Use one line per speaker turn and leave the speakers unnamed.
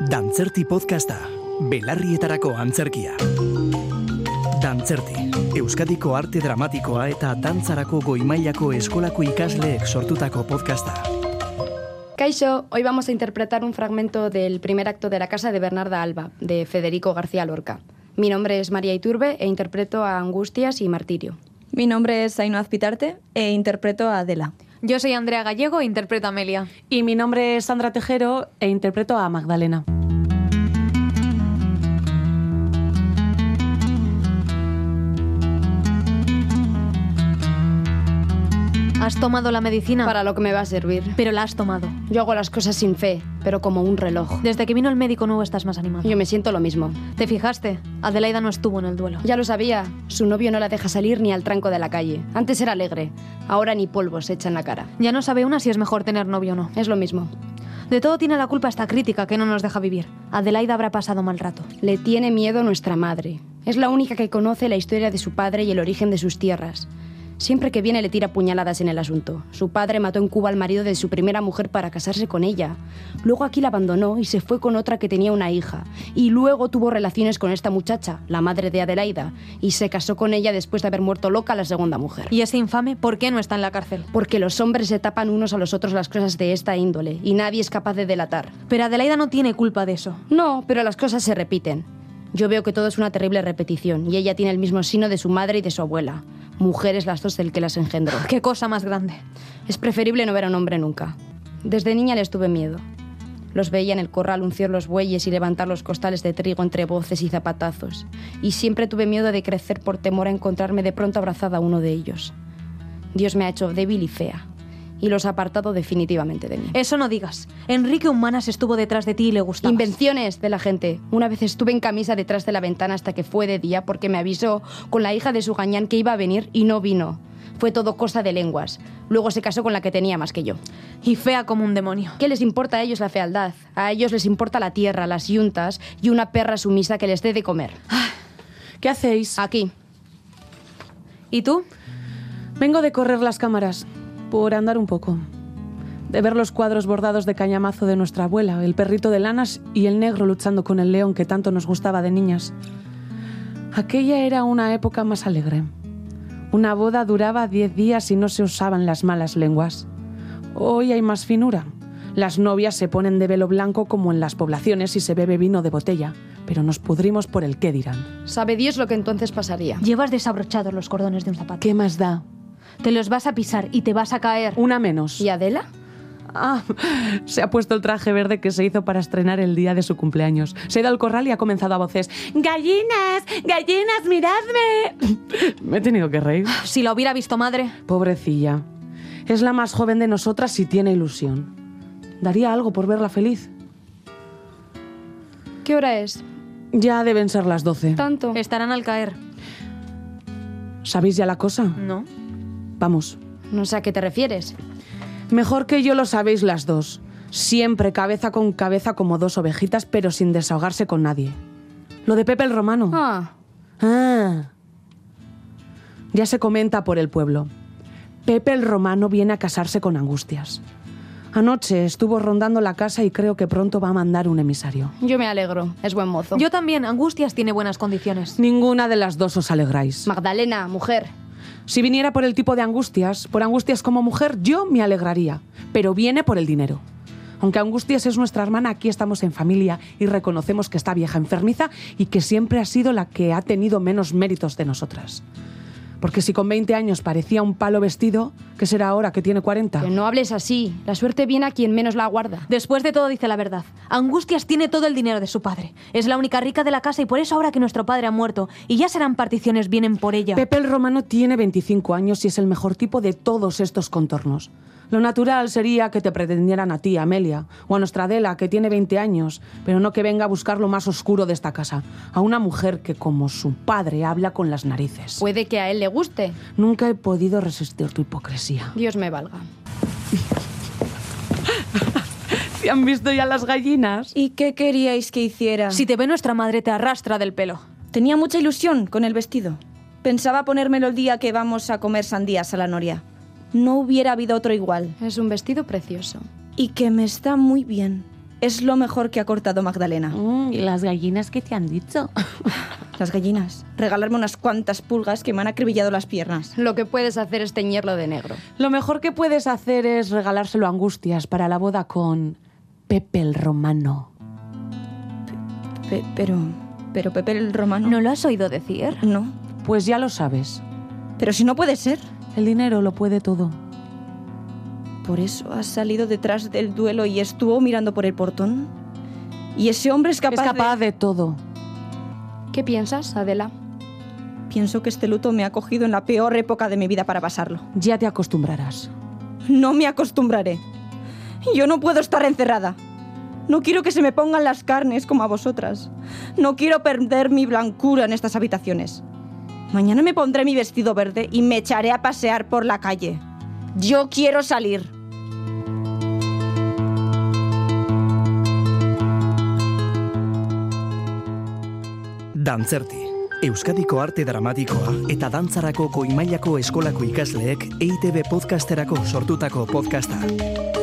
Dantzerti podcasta, belarrietarako antzerkia. Dantzerti, Euskadiko arte dramatikoa eta dantzarako goimailako eskolako ikasleek sortutako podcasta.
Kaixo, hoy vamos a interpretar un fragmento del primer acto de La Casa de Bernarda Alba, de Federico García Lorca. Mi nombre es María Iturbe e interpreto a Angustias y Martirio.
Mi nombre es Aino Azpitarte e interpreto a Adela.
Yo soy Andrea Gallego e interpreto a Amelia.
Y mi nombre es Sandra Tejero e interpreto a Magdalena.
Has tomado la medicina,
Para lo que me va a servir.
pero la has tomado.
Yo hago las cosas sin fe, pero como un reloj.
Desde que vino el médico nuevo estás más animado.
Yo me siento lo mismo.
¿Te fijaste? Adelaida no estuvo en el duelo.
Ya lo sabía, su novio no la deja salir ni al tranco de la calle. Antes era alegre, ahora ni polvo se echa en la cara.
Ya no sabe una si es mejor tener novio o no.
Es lo mismo.
De todo tiene la culpa esta crítica que no nos deja vivir. Adelaida habrá pasado mal rato.
Le tiene miedo nuestra madre. Es la única que conoce la historia de su padre y el origen de sus tierras. Siempre que viene le tira puñaladas en el asunto. Su padre mató en Cuba al marido de su primera mujer para casarse con ella. Luego aquí la abandonó y se fue con otra que tenía una hija. Y luego tuvo relaciones con esta muchacha, la madre de Adelaida, y se casó con ella después de haber muerto loca la segunda mujer.
¿Y ese infame por qué no está en la cárcel?
Porque los hombres se tapan unos a los otros las cosas de esta índole y nadie es capaz de delatar.
Pero Adelaida no tiene culpa de eso.
No, pero las cosas se repiten. Yo veo que todo es una terrible repetición y ella tiene el mismo sino de su madre y de su abuela. Mujeres las dos del que las engendró.
Qué cosa más grande.
Es preferible no ver a un hombre nunca. Desde niña les tuve miedo. Los veía en el corral unciar los bueyes y levantar los costales de trigo entre voces y zapatazos. Y siempre tuve miedo de crecer por temor a encontrarme de pronto abrazada a uno de ellos. Dios me ha hecho débil y fea. Y los ha apartado definitivamente de mí.
Eso no digas. Enrique Humanas estuvo detrás de ti y le gustaba.
Invenciones de la gente. Una vez estuve en camisa detrás de la ventana hasta que fue de día porque me avisó con la hija de su gañán que iba a venir y no vino. Fue todo cosa de lenguas. Luego se casó con la que tenía más que yo.
Y fea como un demonio.
¿Qué les importa a ellos la fealdad? A ellos les importa la tierra, las yuntas y una perra sumisa que les dé de comer.
¿Qué hacéis?
Aquí.
¿Y tú?
Vengo de correr las cámaras, por andar un poco. De ver los cuadros bordados de cañamazo de nuestra abuela, el perrito de lanas y el negro luchando con el león que tanto nos gustaba de niñas. Aquella era una época más alegre. Una boda duraba 10 días y no se usaban las malas lenguas. Hoy hay más finura. Las novias se ponen de velo blanco como en las poblaciones y se bebe vino de botella, pero nos pudrimos por el qué dirán.
Sabe Dios lo que entonces pasaría.
Llevas desabrochados los cordones de un zapato.
¿Qué más da?
Te los vas a pisar y te vas a caer.
Una menos.
¿Y Adela?
Ah, se ha puesto el traje verde que se hizo para estrenar el día de su cumpleaños. Se ha ido al corral y ha comenzado a voces. ¡Gallinas! ¡Gallinas, miradme! Me he tenido que reír.
Si la hubiera visto madre.
Pobrecilla. Es la más joven de nosotras y tiene ilusión. Daría algo por verla feliz.
¿Qué hora es? Eh,
Ya deben ser las 12.
Tanto.
Estarán al caer.
¿Sabéis ya la cosa?
No.
Vamos.
No sé a qué te refieres.
Mejor que yo lo sabéis las dos. Siempre cabeza con cabeza como dos ovejitas, pero sin desahogarse con nadie. Lo de Pepe el Romano.
Ah,
Ah. Ya se comenta por el pueblo. Pepe el Romano viene a casarse con Angustias. Anoche estuvo rondando la casa y creo que pronto va a mandar un emisario.
yo me alegro. Es buen mozo.
Yo también. Angustias tiene buenas condiciones.
Ninguna de las dos os alegráis.
Magdalena, mujer.
Si viniera por el tipo de Angustias, por Angustias como mujer, yo me alegraría, pero viene por el dinero. Aunque Angustias es nuestra hermana, aquí estamos en familia y reconocemos que está vieja enfermiza y que siempre ha sido la que ha tenido menos méritos de nosotras. Porque si con 20 años parecía un palo vestido, ¿qué será ahora que tiene 40?
Que no hables así. La suerte viene a quien menos la guarda.
Después de todo dice la verdad. Angustias tiene todo el dinero de su padre. Es la única rica de la casa y por eso ahora que nuestro padre ha muerto y ya serán particiones vienen por ella.
Pepe el Romano tiene 25 años y es el mejor tipo de todos estos contornos. Lo natural sería que te pretendieran a ti, Amelia, o a nuestra Adela, que tiene 20 años, pero no que venga a buscar lo más oscuro de esta casa, a una mujer que, como su padre, habla con las narices.
Puede que a él le guste.
Nunca he podido resistir tu hipocresía.
Dios me valga.
¿Te han visto ya las gallinas?
¿Y qué queríais que hiciera?
Si te ve nuestra madre te arrastra del pelo.
tenía mucha ilusión con el vestido. Pensaba ponérmelo el día que vamos a comer sandías a la noria. No hubiera habido otro igual.
Es un vestido precioso.
Y que me está muy bien. Es lo mejor que ha cortado Magdalena.
Mm, ¿Y las gallinas qué te han dicho?
Las gallinas. Regalarme unas cuantas pulgas que me han acribillado las piernas.
Lo que puedes hacer es teñirlo de negro.
Lo mejor que puedes hacer es regalárselo a Angustias para la boda con Pepe el Romano.
Pe- pero. Pero Pepe el Romano.
¿No lo has oído decir?
No.
Pues ya lo sabes.
Pero si no puede ser.
El dinero lo puede todo.
Por eso has salido detrás del duelo y estuvo mirando por el portón. Y ese hombre es capaz.
es capaz
de-
de todo.
¿Qué piensas, Adela?
Pienso que este luto me ha cogido en la peor época de mi vida para pasarlo.
Ya te acostumbrarás.
No me acostumbraré. Yo no puedo estar encerrada. No quiero que se me pongan las carnes como a vosotras. No quiero perder mi blancura en estas habitaciones. Mañana me pondré mi vestido verde y me echaré a pasear por la calle. Yo quiero salir.
Dantzerti. Euskadiko arte dramatikoa eta E dantzarako goimailako eskolako ikasleek EITB podcasterako sortutako podcasta.